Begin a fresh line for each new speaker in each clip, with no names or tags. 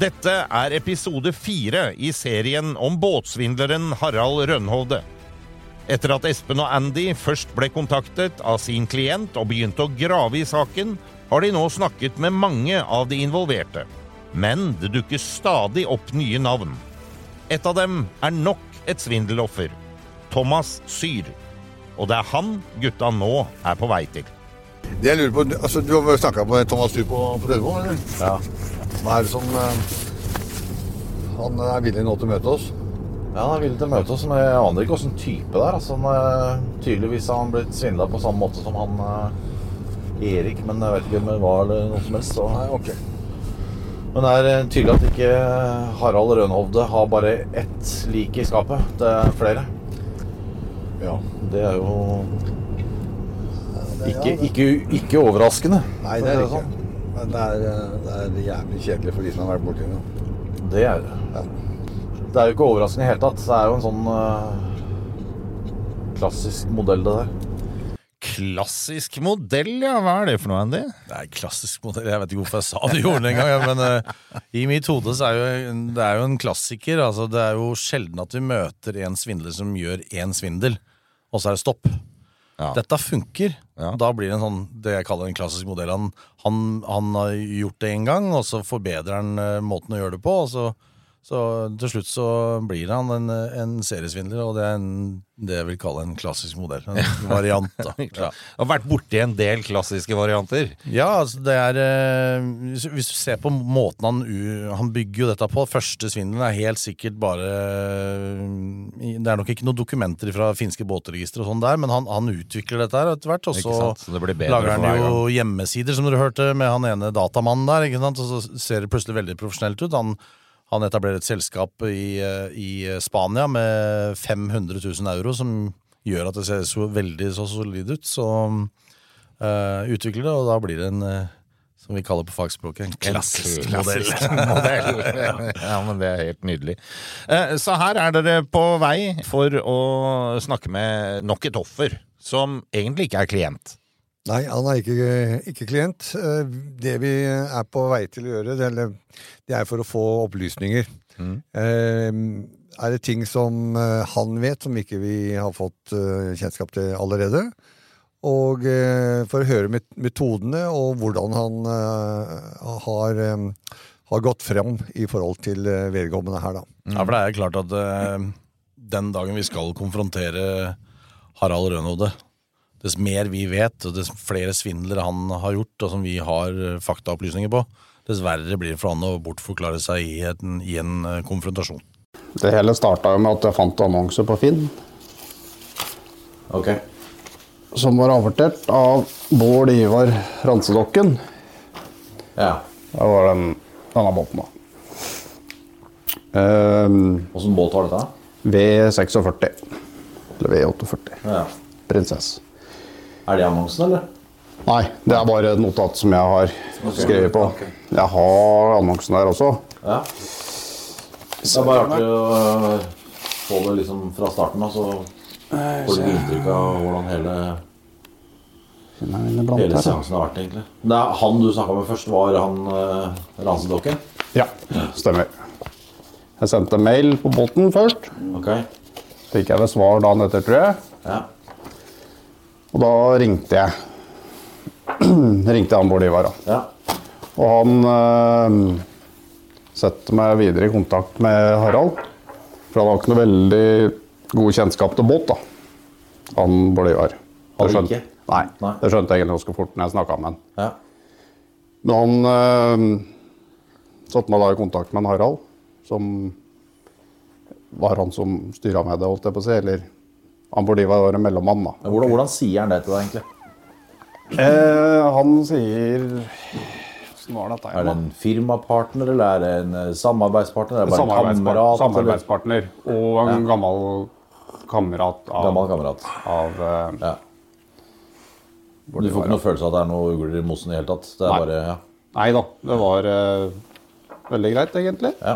Dette er episode fire i serien om båtsvindleren Harald Rønhovde. Etter at Espen og Andy først ble kontaktet av sin klient og begynte å grave i saken, har de nå snakket med mange av de involverte. Men det dukker stadig opp nye navn. Et av dem er nok et svindeloffer. Thomas Syr. Og det er han gutta nå er på vei til.
Det jeg lurer på, altså, Du har snakka med Thomas Dyr på, på telefonen, eller?
Ja.
Hva er det som eh, Han er villig nå til å møte oss?
ja, han er villig til å møte oss, men jeg aner ikke åssen type det er. Altså, han, eh, tydeligvis har han blitt svindla på samme måte som han eh, Erik, men jeg vet ikke om det var eller noe som helst. Så.
ok.
Men det er eh, tydelig at ikke eh, Harald Rønhovde har bare ett lik i skapet. Det er flere.
Ja.
Det er jo ikke, ikke, ikke overraskende.
Nei,
for å
det er
si
det sånn? ikke. Men det er, eh, det er jævlig kjedelig for de som har vært borti det.
sånn. Det er det.
Ja.
Det er jo ikke overraskende i det hele tatt. Det er jo en sånn eh, klassisk modell, det der.
Klassisk modell, ja. Hva er det for noe, Andy?
Det er en klassisk modell. Jeg vet ikke hvorfor jeg sa det i ordene engang, jeg, men eh, i mitt hode så er jo, det er jo en klassiker. Altså, det er jo sjelden at vi møter en svindler som gjør én svindel, og så er det stopp.
Ja.
Dette funker.
Ja.
Da blir det en sånn, det jeg kaller en klassisk modell. Han, han, han har gjort det én gang, og så forbedrer han eh, måten å gjøre det på. Og så, så til slutt så blir han en, eh, en seriesvindler, og det er en, det jeg vil kalle en klassisk modell. En variant, da. Ja.
Jeg har vært borti en del klassiske varianter.
Ja, altså det er eh, Hvis hvis du ser på måten han, u- han bygger jo dette på Første svindelen er helt sikkert bare eh, Det er nok ikke noen dokumenter fra finske båtregistre og sånn der, men han, han utvikler dette her etter hvert. Og
Ikke sant? Så det blir
så
bedre
lager
for hver
han jo hjemmesider, som dere hørte, med han ene datamannen der. Ikke sant? Og så ser det plutselig veldig profesjonelt ut. Han, han etablerer et selskap i, eh, i Spania med 500 000 euro, som gjør at det ser så veldig så solid ut. Så eh, utvikler det, og da blir det en eh, som vi kaller på fagspråket, en klassisk modell.
modell. ja, men det er helt nydelig. Eh, Så her er dere på vei for å snakke med nok et offer, som egentlig ikke er klient.
Nei, han er ikke, ikke klient. Eh, Det vi er på vei til å gjøre, det, eller, det er for å få opplysninger.
Mm.
Eh, Er det ting som eh, han vet, som ikke vi har fått eh, kjennskap til allerede? Og eh, for å høre met metodene og hvordan han eh, har, eh, har gått fram i forhold til eh, vedkommende her, da.
Mm. Ja, for det er jo klart at eh, den dagen vi skal konfrontere Harald Rønhovde, dess mer vi vet, og dess flere svindler han har gjort, og som vi har eh, faktaopplysninger på, dess verre blir det for han å bortforklare seg i en, i en eh, konfrontasjon.
Det hele starta med at jeg fant annonser på Finn
Ok.
som var avertert av Bård Ivar Ransedokken.
Ja.
Det var den, denne båten, da. Ehm,
Åssen båt var dette?
V46. Eller V48.
Ja.
Prinsesse.
Er det annonsen, eller?
Nei, det er bare et notat som jeg har skrevet på.
ok.
Jeg har annonsen der også.
Ja. Det er bare artig å eh, få det liksom fra starten av, så får du inntrykk av hvordan hele,
Finner jeg mine blant
hele
her, da.
seansen har vært, egentlig. Det er han du snakka med først, var han eh, ransedokken?
Ja, stemmer. Jeg sendte mail på
Mm.
båten først.
Ok.
Fikk jeg det svar dagen etter, tror jeg.
Ja.
Og da ringte jeg. ringte han Bård Ivar, da.
Ja.
Og han eh, setter meg videre i kontakt med Harald. For han har ikke noe veldig god kjennskap til båt, da. Han Bård Ivar.
Hadde
Det skjøn-
ikke?
Nei,
Nei.
det skjønte jeg egentlig ganske fort når jeg snakka med han.
ja.
Men han eh, satte meg da i kontakt med en Harald, som var han som styra med det, holdt jeg på å si. Eller han Bård Ivar var en mellommann, da.
Men hvordan, hvordan sier han det til deg, egentlig?
Eh, han sier Åssen var dette?
Er det en firmapartner, eller er det en eh, samarbeidspartner? Er det bare en
Samarbeidspart-
kamerat? eller-
samarbeidspartner og en gammel kamerat av,
Gammel kamerat.
av eh,
Ja. Du får ikke noe følelse av at det er noe ugler i mosen i det hele tatt? Det er
Nei.
bare, ja.
Nei da, det var eh, veldig greit, egentlig.
Ja.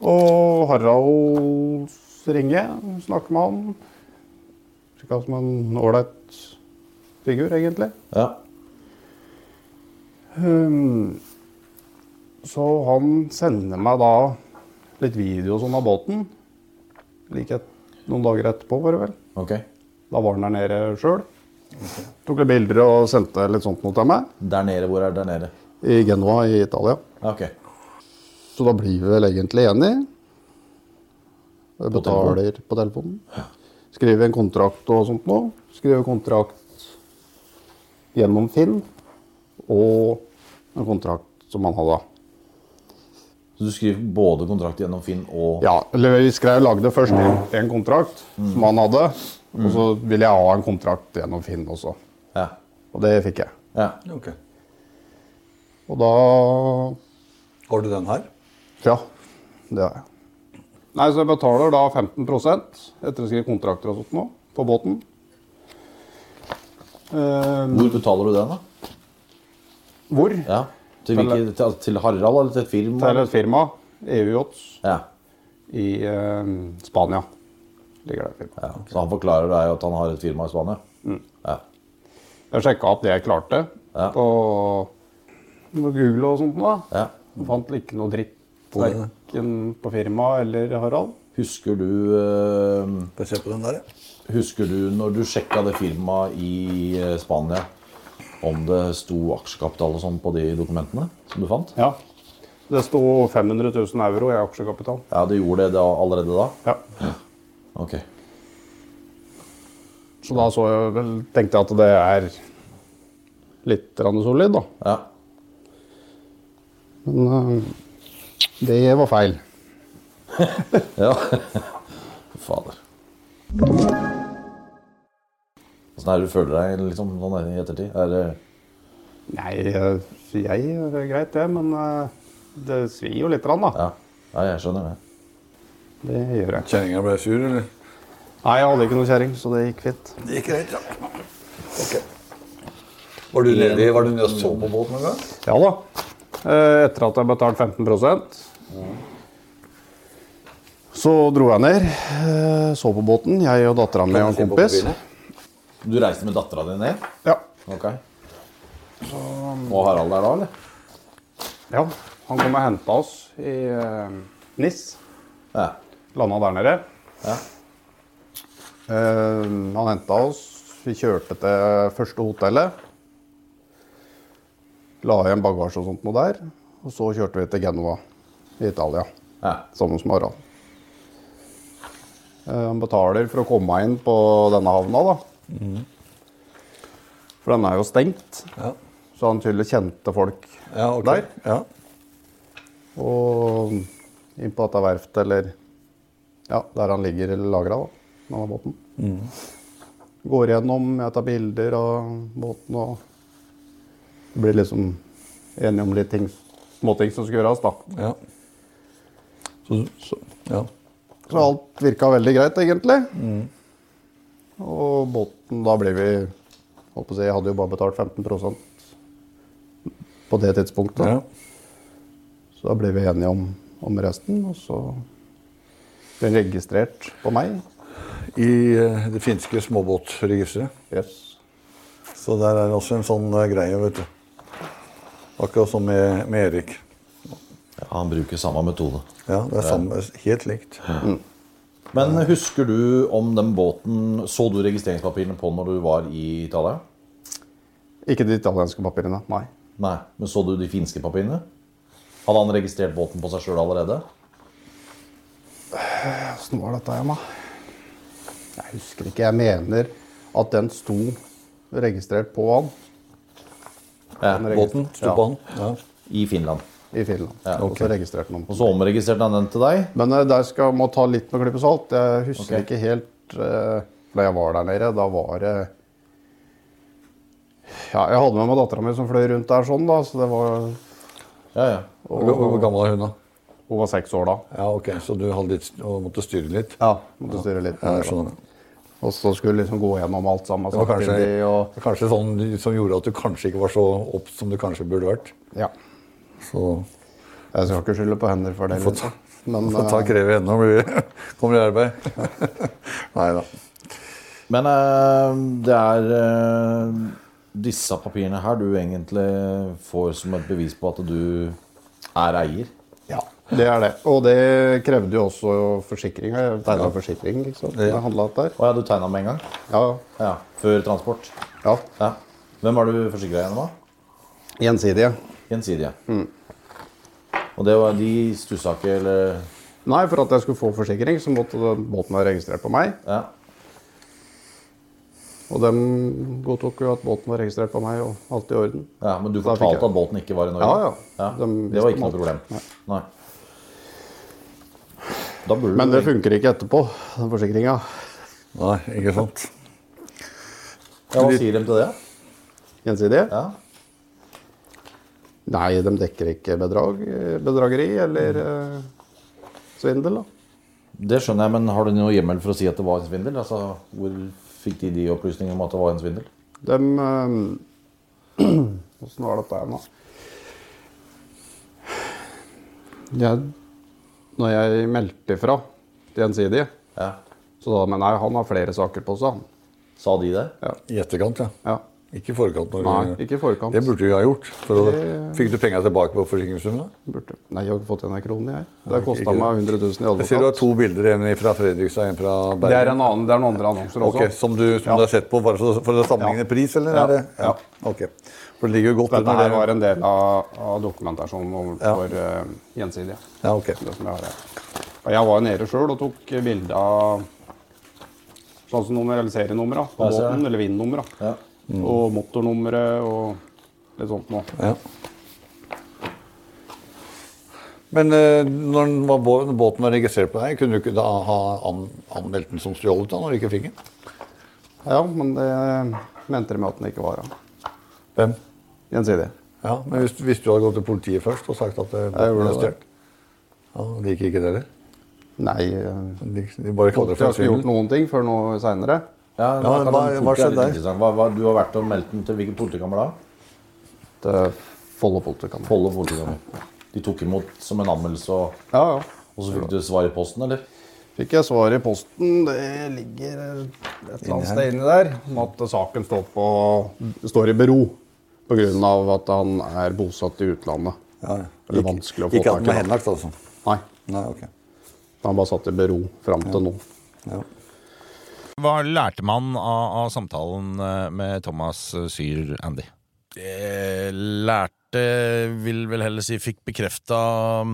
Og Harald ringer, snakker med han. Virka som en ålreit figur, egentlig.
ja.
Ehm, så han sender meg da litt video og sånn av båten. Like et, noen dager etterpå, var det vel.
Ok.
Da var han der nede sjøl. Tok litt bilder og sendte litt sånt noe til meg.
Der nede, hvor er det der nede?
I Genoa i Italia.
Ja, Ok.
Så da blir vi vel egentlig enige. Jeg betaler på telefonen. Skriver en kontrakt og sånt nå. Skriver kontrakt gjennom Finn. Og en kontrakt som han hadde.
Så du skriver både kontrakt gjennom Finn og Mm.
Ja, eller vi skrev lagde først en kontrakt som han hadde. Og så ville jeg ha en kontrakt gjennom Finn også.
Ja.
Og det fikk jeg.
ja.
Ok.
Og da
Har du den her?
Ja, det har jeg. Nei, så jeg betaler da 15 etter å skrive kontrakter og sånt nå, på båten. Eh,
Hvor betaler du den, da?
hvor?
Ja. Til, hvilke, til, altså, til Harald eller til et firma?
Til
eller?
et firma, E EU Yachts,
Ja.
i eh, Spania. Ligger det et firma.
ja. Så han forklarer deg at han har et firma i Spania? Ja.
Jeg sjekka opp det jeg klarte
Ja.
på noe Google og sånt. da.
ja.
Jeg Fant ikke noe dritt verken på firmaet eller Harald.
Husker du eh,
Får jeg se på den der, ja.
Husker du når du sjekka det firmaet i eh, Spania, om det sto aksjekapital og sånn på de dokumentene som du fant?
Ja. Det sto 500 000 euro i aksjekapital.
Ja, det gjorde det da, allerede da?
Ja.
Ok.
Så da så jeg vel, tenkte jeg at det er litt grann solid, da.
Ja.
Men eh, det var feil.
ja. Fader. Åssen er det du føler deg liksom, sånn i ettertid? Er det
Nei, eh, jeg det er greit, det, men eh, det svir jo litt, grann, da.
Ja, ja jeg skjønner det.
Det gjør jeg.
Kjerringa ble sur, eller?
Nei, jeg hadde ikke noe kjerring, så det gikk fint.
Det gikk greit, ja. Ok. Var du ledig? Var du nede og så på båten en gang?
Ja da. Eh, Etter at jeg betalte 15 så dro jeg ned, eh, så på båten, jeg og dattera mi og en kompis.
Du reiste med dattera di ned?
Ja.
Ok.
Sånn.
Og Harald der da, eller?
ja. Han kom og henta oss i eh, NIS.
Ja.
Landa der nede.
Ja.
Eh, han henta oss. Vi kjørte til første hotellet. La igjen bagasje og sånt noe der. Og så kjørte vi til Genova i Italia
ja.
sammen med Harald. Eh, han betaler for å komme inn på denne havna, da. For den er jo stengt,
Mhm. Ja.
så han tydelig kjente folk.
ja ok.
Der?
Ja.
Og inn på dette verftet, eller ja, der han ligger eller lagra, da. Denne båten. Går gjennom, jeg tar bilder av båten og Blir liksom enige om litt ting, småting som skal gjøres, da.
ja. Så, så, ja. Mm.
Så alt virka veldig greit, egentlig. Og båten Da blir vi holdt på å si, Jeg hadde jo bare betalt 15 på det tidspunktet.
ja.
Så da ble vi enige om, om resten, og så ble den registrert på meg.
I eh, det finske småbåtregisteret.
Yes.
Så der er også en sånn eh, greie, vet du. Akkurat som med, med Erik.
Han bruker samme metode.
Ja, det er samme, helt likt.
Men husker du om den båten Så du registreringspapirene på når du var i Italia?
Ikke de italienske papirene, nei.
Nei, men så du de finske papirene? Hadde han registrert båten på seg sjøl allerede?
Åssen var dette igjen, da? Jeg husker ikke. Jeg mener at den sto registrert på han
Ja,
registrer-
båten
Sto på han. Ja.
i Finland.
i Finland. Og så registrerte han den.
Og så omregistrerte han den til deg?
Men eh, der skal må ta litt med klype salt. Jeg husker
Ok.
ikke helt eh, Da jeg var der nede, da var det ja, Jeg hadde med meg dattera mi som fløy rundt der sånn, da. Så det var,
Ja, ja.
Hvor, hvor gammel er hun, da?
hun var seks år da.
Ja, ok, Så du hadde litt, og måtte styre litt?
Ja, måtte styre litt.
Ja, jeg
med det, da.
skjønner.
Og så skulle liksom gå gjennom alt sammen.
Det var kanskje,
samtidig, og,
kanskje sånn som gjorde at du kanskje ikke var så opp som du kanskje burde vært.
ja.
Så
Jeg skal ikke skylde på hender for det.
får ta,
liksom. Men,
får ta
eh,
krevet ennå, blir vi kommer i arbeid. Nei da.
Men eh, det er eh, disse papirene her du egentlig får som et bevis på at du er eier.
Ja, det er det. Og det krevde jo også forsikring. Jeg tegna forsikring, liksom. Det handla der.
Å ja, du tegna med en gang?
Ja,
Ja, Før transport?
ja.
Ja. Hvem har du forsikra gjennom? da?
Gjensidige.
Gjensidige.
Mm.
Og det var de stussa ikke, eller
Nei, for at jeg skulle få forsikring, så måtte den båten være registrert på meg.
Ja.
Og dem godtok jo at båten var registrert på meg, og alt i orden.
ja men du
Da fikk jeg-
fortalte at båten ikke var i Norge?
Ja, ja. De
Det var
visste
ikke noe
om alt.
problem? Nei. Da burde
Men
du
det funker ikke etterpå, den forsikringa.
Nei, ikke sant.
ja, Hva sier de til det?
Gjensidige.
Ja.
Nei, de dekker ikke bedrag, bedrageri eller eh, svindel, da.
Det skjønner jeg, men har du noe hjemmel for å si at det var en svindel? Altså, Hvor fikk de de opplysningene om at det var en svindel?
De Åssen eh, var dette her nå? Jeg, når jeg meldte ifra til Gjensidige,
Ja.
så sa de men nei, han har flere saker på seg. han».
Sa de det?
I etterkant, ja.
Ja.
Ikke i forkant. Når
Nei,
du-
ikke i forkant.
Det burde vi ha gjort. For å, fikk du penga tilbake på forsikringssummen? da?
Burde. Nei, jeg har ikke fått en krone, jeg. Det
ikke-
kosta
ikke-
meg 100 000 i
Jeg ser du har
advokat.
to bilder, en fra Fredrikstad og en fra Bergen.
Det er en annen, det er noen andre annonser også.
Ok, Som du, som du har sett på bare for, for å sammenligne pris, eller?
sånn. Ja.
Er det? ja. Ok. For det ligger jo godt
Dette
under
her
det.
var en del av, av dokumentasjonen
Ja.
overfor eh, Gjensidige.
Ja, ok.
Det som jeg har her. Og jeg var nede sjøl og tok bilde av sånn som nummer, eller serienummer da, på
Ja, ser
båten,
jeg.
eller vindnummer. da.
Ja.
Og motornummeret og litt sånt noe.
Ja. Men eh, når den var, bå- når båten var registrert på deg, kunne du ikke da ha an, anmeldt den som stjålet da, når du ikke fikk den?
Ja, men det mente de med at den ikke var ja.
Hvem?
Gjensidig.
Ja, men hvis, hvis du hadde gått til politiet først og sagt at eh, båten var
gjorde det.
stjålet ja, De liker ikke det heller.
Nei, eh,
De, de bare kaller
jeg
det for en
har ikke
svindel.
gjort noen ting før noe seinere.
Ja,
Ja,
da kan
hva-
den
hva
fort være litt
skjedde der?
interessant. Hva, hva, du har vært og meldt den til hvilket politikammer da?
Til Follo politikammer.
Follo politikammer. De tok imot som en anmeldelse, og,
Ja, ja.
og så fikk du svar i posten, eller?
Fikk jeg svar i posten. Det ligger et eller annet sted inni der. Om at saken står, på, står i bero pga. at han er bosatt i utlandet.
Ja, ja.
Eller
Ikke-
vanskelig å få
Ikke at
tak i,
den var
da.
henlagt, altså.
Nei,
Nei, ok.
han bare satt i bero fram til nå.
Ja.
Hva lærte man av, av samtalen eh, med Thomas eh, Syr Andy?
eh, lærte, vil vel heller si, fikk bekrefta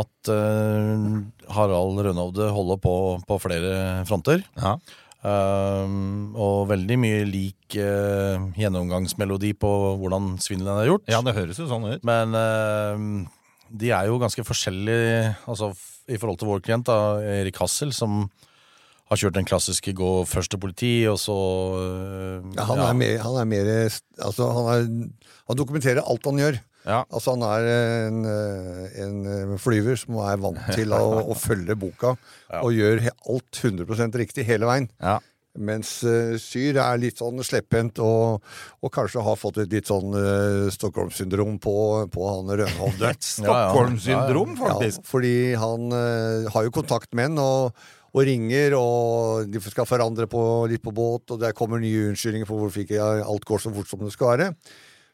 at eh, Harald Rønhovde holder på på flere fronter.
Ja.
Ehm, og veldig mye lik eh, gjennomgangsmelodi på hvordan svindelen er gjort.
ja, det høres jo sånn ut.
Men ehm, de er jo ganske forskjellige altså, f- i forhold til vår klient, da, Erik Hassel, som har kjørt den klassiske gå først til politi, og så eh,
Ja, han, Er mer, han er mer altså, han, er, han dokumenterer alt han gjør.
Ja.
Altså, han er en, eh, en flyver som er vant til å, å følge boka og gjør he- alt 100 riktig hele veien.
Ja.
Mens eh, Syr er litt sånn slepphendt og, og kanskje har fått et litt sånn eh, Stockholm-syndrom på, på han Rønhovde.
Stockholm-syndrom, faktisk.
Ja, fordi han eh, har jo kontakt med en og, og ringer, og de skal forandre på, litt på båt, og der kommer nye unnskyldninger for hvorfor ikke alt går så fort som det skal være.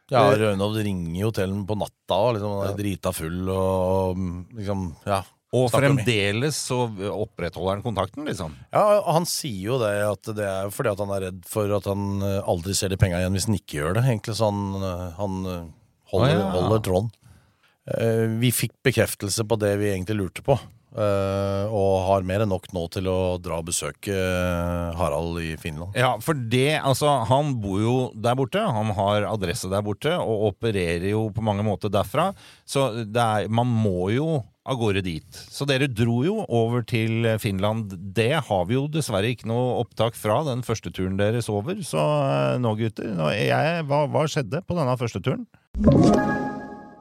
Ja,
Eh,
Rønhovd ringer jo til den på natta og liksom, han er drita full og mm, liksom, ja.
Og
Snakker om i.
fremdeles så opprettholder han kontakten, liksom.
Ja, og Han sier jo det at det er fordi at han er redd for at han eh, aldri ser de penga igjen hvis han ikke gjør det. Egentlig så han, eh, han eh, holder,
Å, ja.
holder tråden. Eh, Vi fikk bekreftelse på det vi egentlig lurte på, eh, og har mer enn nok nå til å dra og besøke eh, Harald i Finland.
Ja, for det, altså, han bor jo der borte, han har adresse der borte, og opererer jo på mange måter derfra, så det er, man må jo av gårde dit. Så dere dro jo over til Finland. Det har vi jo dessverre ikke noe opptak fra, den første turen deres over, så eh, nå gutter, nå, er jeg, hva, hva skjedde på denne første turen?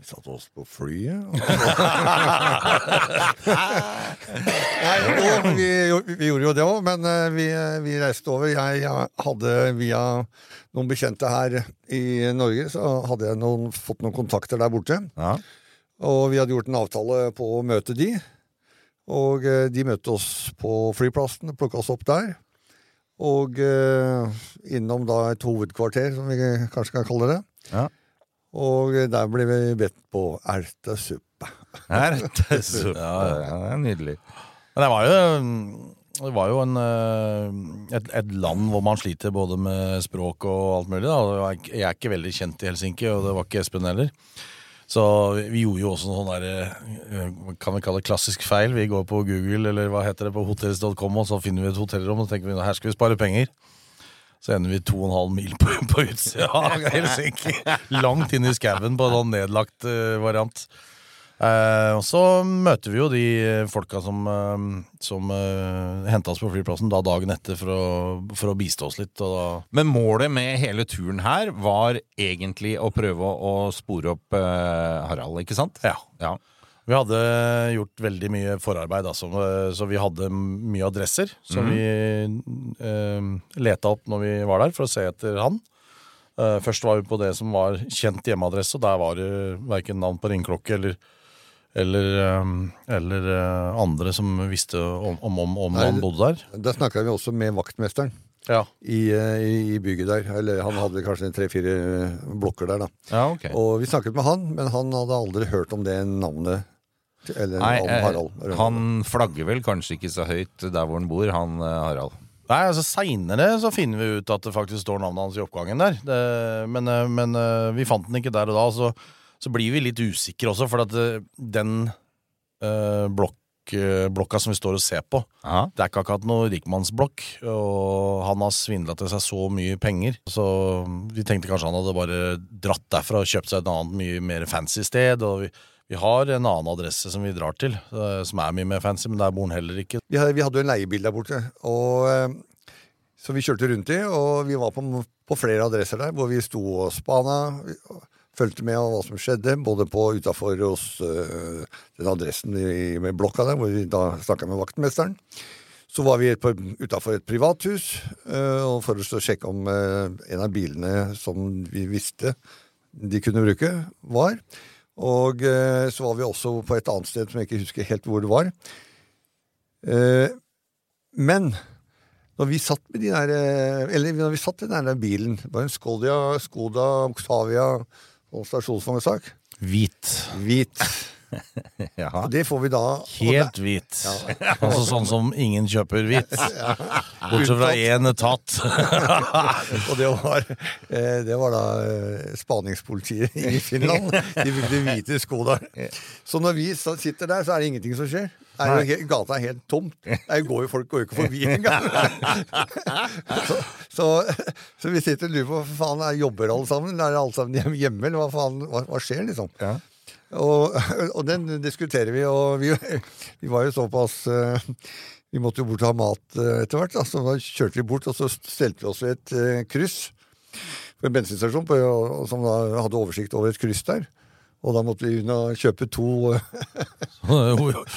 Vi satte oss på flyet. og- Nei, jo, vi, vi gjorde jo det òg, men eh, vi, vi reiste over. Jeg, jeg hadde via noen bekjente her i Norge, så hadde jeg noen, fått noen kontakter der borte.
Ja.
Og vi hadde gjort en avtale på å møte de. Og eh, de møtte oss på flyplassen, plukka oss opp der. Og eh, innom da et hovedkvarter, som vi kanskje kan kalle det.
Ja.
Og der ble vi bedt på ertesuppe.
Her, det er så- ja, det er nydelig.
Men det var jo, mm, det var jo en, eh, et, et land hvor man sliter både med språk og alt mulig. Da. Og jeg er ikke- Jeg er ikke veldig kjent i Helsinki, og det var ikke Espen heller. Så vi gjorde jo også noen sånn der, eh, hva kan vi kalle det klassisk feil. Vi går på Google eller hva heter det, på hotels.com, og så finner vi et hotellrom og så tenker vi, her skal vi spare penger. Så ender vi to og en halv mil på, på utsida av Helsinki. Langt inn i skauen på en sånn nedlagt eh, variant. Eh, og så møter vi jo de folka som, eh, som eh, henta oss på flyplassen da dagen etter for å, for å bistå oss litt. Og da,
Men målet med hele turen her var egentlig å prøve å å spore opp eh, Harald, ikke sant?
Ja.
ja.
vi hadde gjort veldig mye forarbeid, altså, eh, så vi hadde m- mye adresser som vi eh, leta opp når vi var der, for å se etter han. Eh, først var vi på det som var kjent hjemmeadresse, og der var det verken navn på ringeklokke eller eller, eh, eller eh, andre som visste om, om, om, om
Nei,
han
det-
bodde der.
Der snakka vi også med vaktmesteren
Ja,
i, eh, i, i bygget der. Eller han hadde kanskje tre-fire eh, blokker der, da.
ja ok.
Og vi snakket med han, men han hadde aldri hørt om det navnet. til- Eller
Nei,
om
eh,
Harald. Rønneberg.
han flagger vel kanskje ikke så høyt der hvor han bor, han eh, Harald.
Nei, altså Seinere så finner vi ut at det faktisk står navnet hans i oppgangen der. Det, men, eh, men eh, vi fant den ikke der og da, så, så blir vi litt usikre også. For at eh, den eh, blokk, eh, blokka som vi står og ser på,
Ja.
det er ikke akkurat noe rikmannsblokk. Og han har svindla til seg så mye penger, så vi tenkte kanskje han hadde bare dratt derfra og kjøpt seg et annet mye mer fancy sted. Og vi, vi har en annen adresse som vi drar til, eh, som er mye mer fancy, men der bor han heller ikke.
Vi, hadde, vi hadde jo en leiebil der borte, og, eh, så vi kjørte rundt i. Og vi var på, på flere adresser der hvor vi sto og spana. vi- og Fulgte med av hva som skjedde, både på utafor hos eh, den adressen i, med blokka der, hvor vi da snakka med vaktmesteren. Så var vi utafor et privathus eh, og for å sjekke om eh, en av bilene som vi visste de kunne bruke, var. Og eh, så var vi også på et annet sted som jeg ikke husker helt hvor det var. Eh, men når vi satt med de der eh, Eller når vi satt i den der bilen Det var en Skoda, Skoda Octavia og stasjonsvognsak.
Hvit.
Hvit.
Ja.
Og det får vi da
Helt hvit. Altså sånn som ingen kjøper hvit. Bortsett fra én etat.
Og det var, eh, det var da eh, spaningspolitiet i Finland. De brukte hvite Skodaer. Så når vi sa- sitter der, så er det ingenting som skjer. Det Er jo helt, gata er helt tomt. Der går jo folk går jo ikke forbi engang. Så, så, så vi sitter og lurer på hva faen er jobber alle sammen? Er alle sammen hjem- hjemme, eller hva faen hva, hva skjer, liksom? Og, og den diskuterer vi, og vi, vi var jo såpass eh, Vi måtte jo bort og ha mat eh, etter hvert, da, så da kjørte vi bort, og så stelte vi oss ved et eh, kryss på en bensinstasjon på, som da hadde oversikt over et kryss der. Og da måtte hun ha- kjøpe to eh,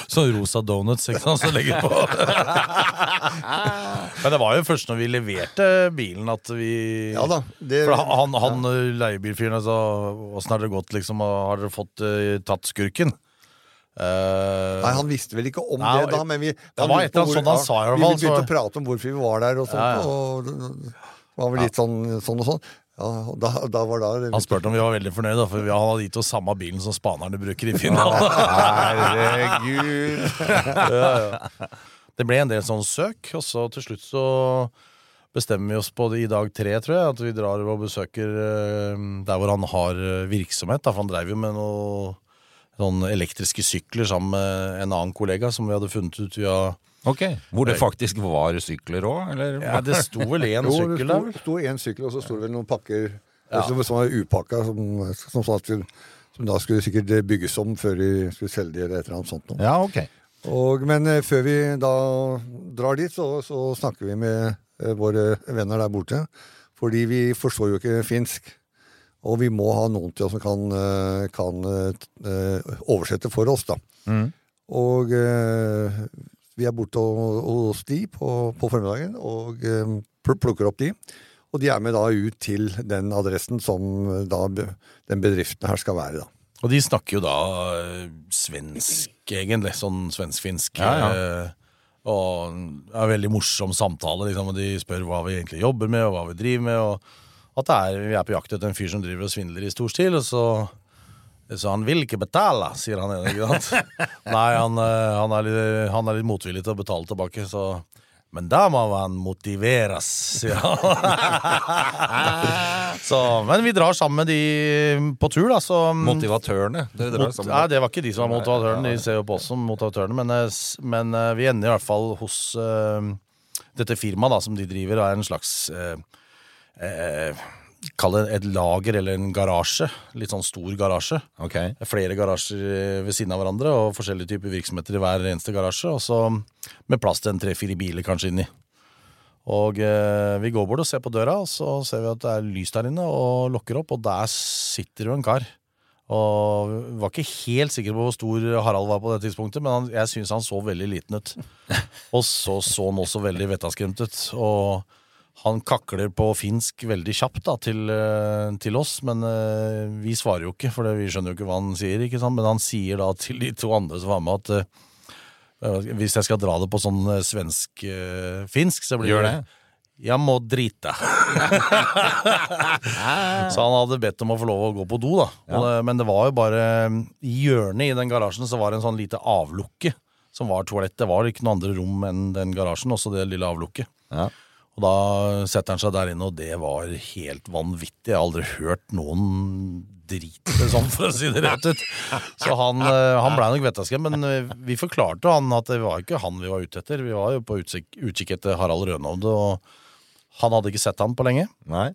Sånn rosa donuts, ikke sant, som du legger på. Men det var jo først når vi leverte bilen at vi
Ja da. Det,
For han, han eh, leiebilfyren sa åssen har det gått, liksom, og har dere fått eh, tatt skurken? Eh,
Nei, Han visste vel ikke om
Nei,
det da, men vi
det var et eller annet sånn han sa i hvert
Vi
fall,
begynte
så-
å prate om hvorfor vi var der, og sånt.
Ja, ja.
Og det var vel litt sånn, sånn og sånn. Ja, og da, da var da
han spurte om vi var veldig fornøyde, da, for vi- han hadde gitt oss samme bilen som spanerne bruker i Finland.
Herregud!
Det ble en del sånn søk, og så til slutt så bestemmer vi oss på det i dag tre, tror jeg, at vi drar og besøker eh, der hvor han har eh, virksomhet. Da, for han drev jo med noen sånn elektriske sykler sammen med en annen kollega som vi hadde funnet ut via
Ok, Hvor det faktisk var sykler òg, eller?
ja, Det sto vel én
Jo, det sto,
sykkel der?
sto en sykkel, og så sto det vel noen pakker som, som var upakka, som, som, sa at vi- som da skulle sikkert bygges om før vi skulle selge de, eller et eller annet sånt. noe.
Ja, ok.
Og, men eh, før vi da drar dit, så, så snakker vi med eh, våre venner der borte. Fordi vi forstår jo ikke finsk. Og vi må ha noen til oss som kan, eh, kan eh, t- eh, oversette for oss, da. Og eh, vi er borte ho- hos de på, på formiddagen og eh, pl- plukker opp de. Og de er med da ut til den adressen som eh, da be- den bedriften her skal være, da.
Og de snakker jo da eh, svensk, egentlig. Sånn svensk-finsk.
Ja,
eh, Og det er en veldig morsom samtale. Liksom, og De spør hva vi egentlig jobber med, og hva vi driver med. Og at det er, vi er på jakt etter en fyr som driver og svindler i stor stil. Og så så han vil ikke betale, sier han ene. ikke sant? Nei, han, eh, han, er litt, han er litt motvillig til å betale tilbake, så Men da må han motiveres, sier han. så, men vi drar sammen med de på tur, da. Så mm,
Motivatørene. Dere drar
mot,
sammen.
nei, det var ikke de som var motivatørene. De ser jo på oss som motivatørene. Men, eh, s- men eh, vi ender i hvert fall hos eh, dette firmaet da, som de driver, er en slags eh, eh, Kall det et lager eller en garasje. Litt sånn stor garasje.
Ok.
Det er Flere garasjer eh, ved siden av hverandre og forskjellige typer virksomheter i hver eneste garasje. Og så med plass til en tre-fire biler kanskje inni. Og eh, vi går bort og ser på døra, og så ser vi at det er lys der inne, og lukker opp, og der sitter jo en kar. Og vi var ikke helt sikre på hvor stor Harald var på det tidspunktet, men han, jeg syns han så veldig liten ut. Og så så han også veldig vettaskremt ut. Og han kakler på finsk veldig kjapt da, til, eh, til oss, men eh, vi svarer jo ikke, for det- vi skjønner jo ikke hva han sier. ikke sant? Men han sier da til de to andre som var med, at eh, eh, hvis jeg skal dra det på sånn svensk-finsk, så blir
Gjør
det
det.
Jeg må drite. så han hadde bedt om å få lov å gå på do, da. Og det, men det var jo bare I hjørnet i den garasjen så var det en sånn lite avlukke som var toalett. Det var ikke noe andre rom enn den garasjen, også det lille avlukket.
Ja.
Og da setter han seg der inne, og det var helt vanvittig. Jeg har aldri hørt noen drite sånn, for å si det rett ut. Så han, eh, han blei nok vettaskremt, men eh, vi forklarte han at det var ikke han vi var ute etter. Vi var jo på utkikk utkikk etter Harald Rønovde, og han hadde ikke sett han på lenge.
Nei.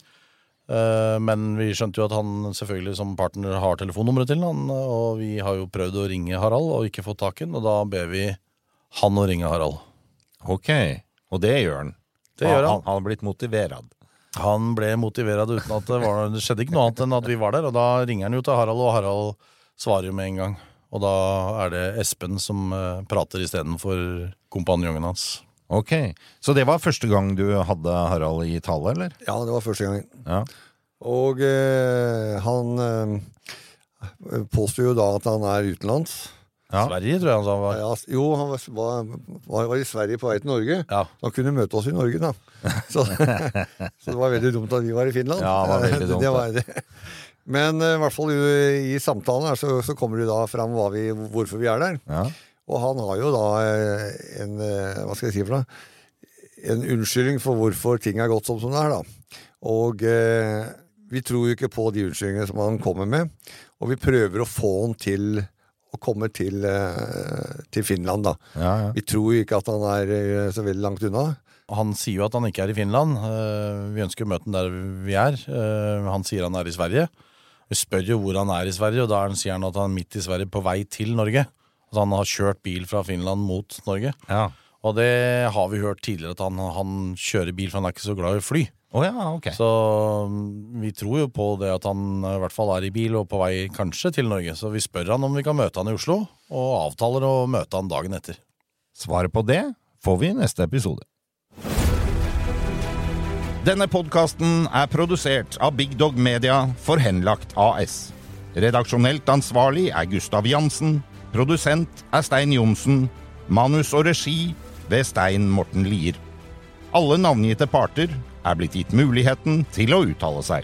Eh, Men vi skjønte jo at han selvfølgelig som partner har telefonnummeret til han, og vi har jo prøvd å ringe Harald og ikke fått tak i han, og da ber vi han å ringe Harald.
Ok. Og det gjør han.
Det gjør han.
Han, han har blitt motiverad.
Han ble motivert uten at det, var, det skjedde ikke noe annet enn at vi var der, og da ringer han jo til Harald, og Harald svarer jo med en gang. Og da er det Espen som eh, prater istedenfor kompanjongen hans.
Ok. Så det var første gang du hadde Harald i tale, eller?
Ja, det var første gangen.
Ja.
Og eh, han eh, påstår jo da at han er utenlands.
Ja.
Sverige, tror jeg han sa. han var.
Ja, jo, han var, var, var i Sverige på vei til Norge.
Ja.
Han kunne møte oss i Norge, da. Så, så det var veldig dumt at vi var i Finland.
Ja, det var veldig dumt,
Det var det. Men eh, i hvert fall i, i samtalen her, så, så kommer det da fram hva vi, hvorfor vi er der.
Ja.
Og han har jo da eh, en eh, Hva skal jeg si for noe? En unnskyldning for hvorfor ting er gått sånn som det er, da. Og eh, vi tror jo ikke på de unnskyldningene som han kommer med, og vi prøver å få han til å komme til, eh, til Finland, da.
Ja, ja.
Vi tror jo ikke at han er eh, så veldig langt unna.
Han sier jo at han ikke er i Finland. Eh, Vi ønsker å møte han der vi er. Eh, Han sier han er i Sverige. Vi spør jo hvor han er i Sverige, og da er han- sier han at han er midt i Sverige på vei til Norge. Altså han har kjørt bil fra Finland mot Norge.
Ja.
Og det har vi hørt tidligere, at han, han kjører bil, for han er ikke så glad i å fly.
Å ja, ok.
Så mm, vi tror jo på det at han eh, i hvert fall er i bil og på vei kanskje til Norge. Så vi spør han om vi kan møte han i Oslo, og avtaler å møte han dagen etter.
Svaret på det får vi i neste episode. Denne podkasten er produsert av Big Dog Media for Henlagt AS. Redaksjonelt ansvarlig er Gustav Jansen. Produsent er Stein Johnsen. Manus og regi ved Stein Morten Lier. Alle navngitte parter er blitt gitt muligheten til å uttale seg.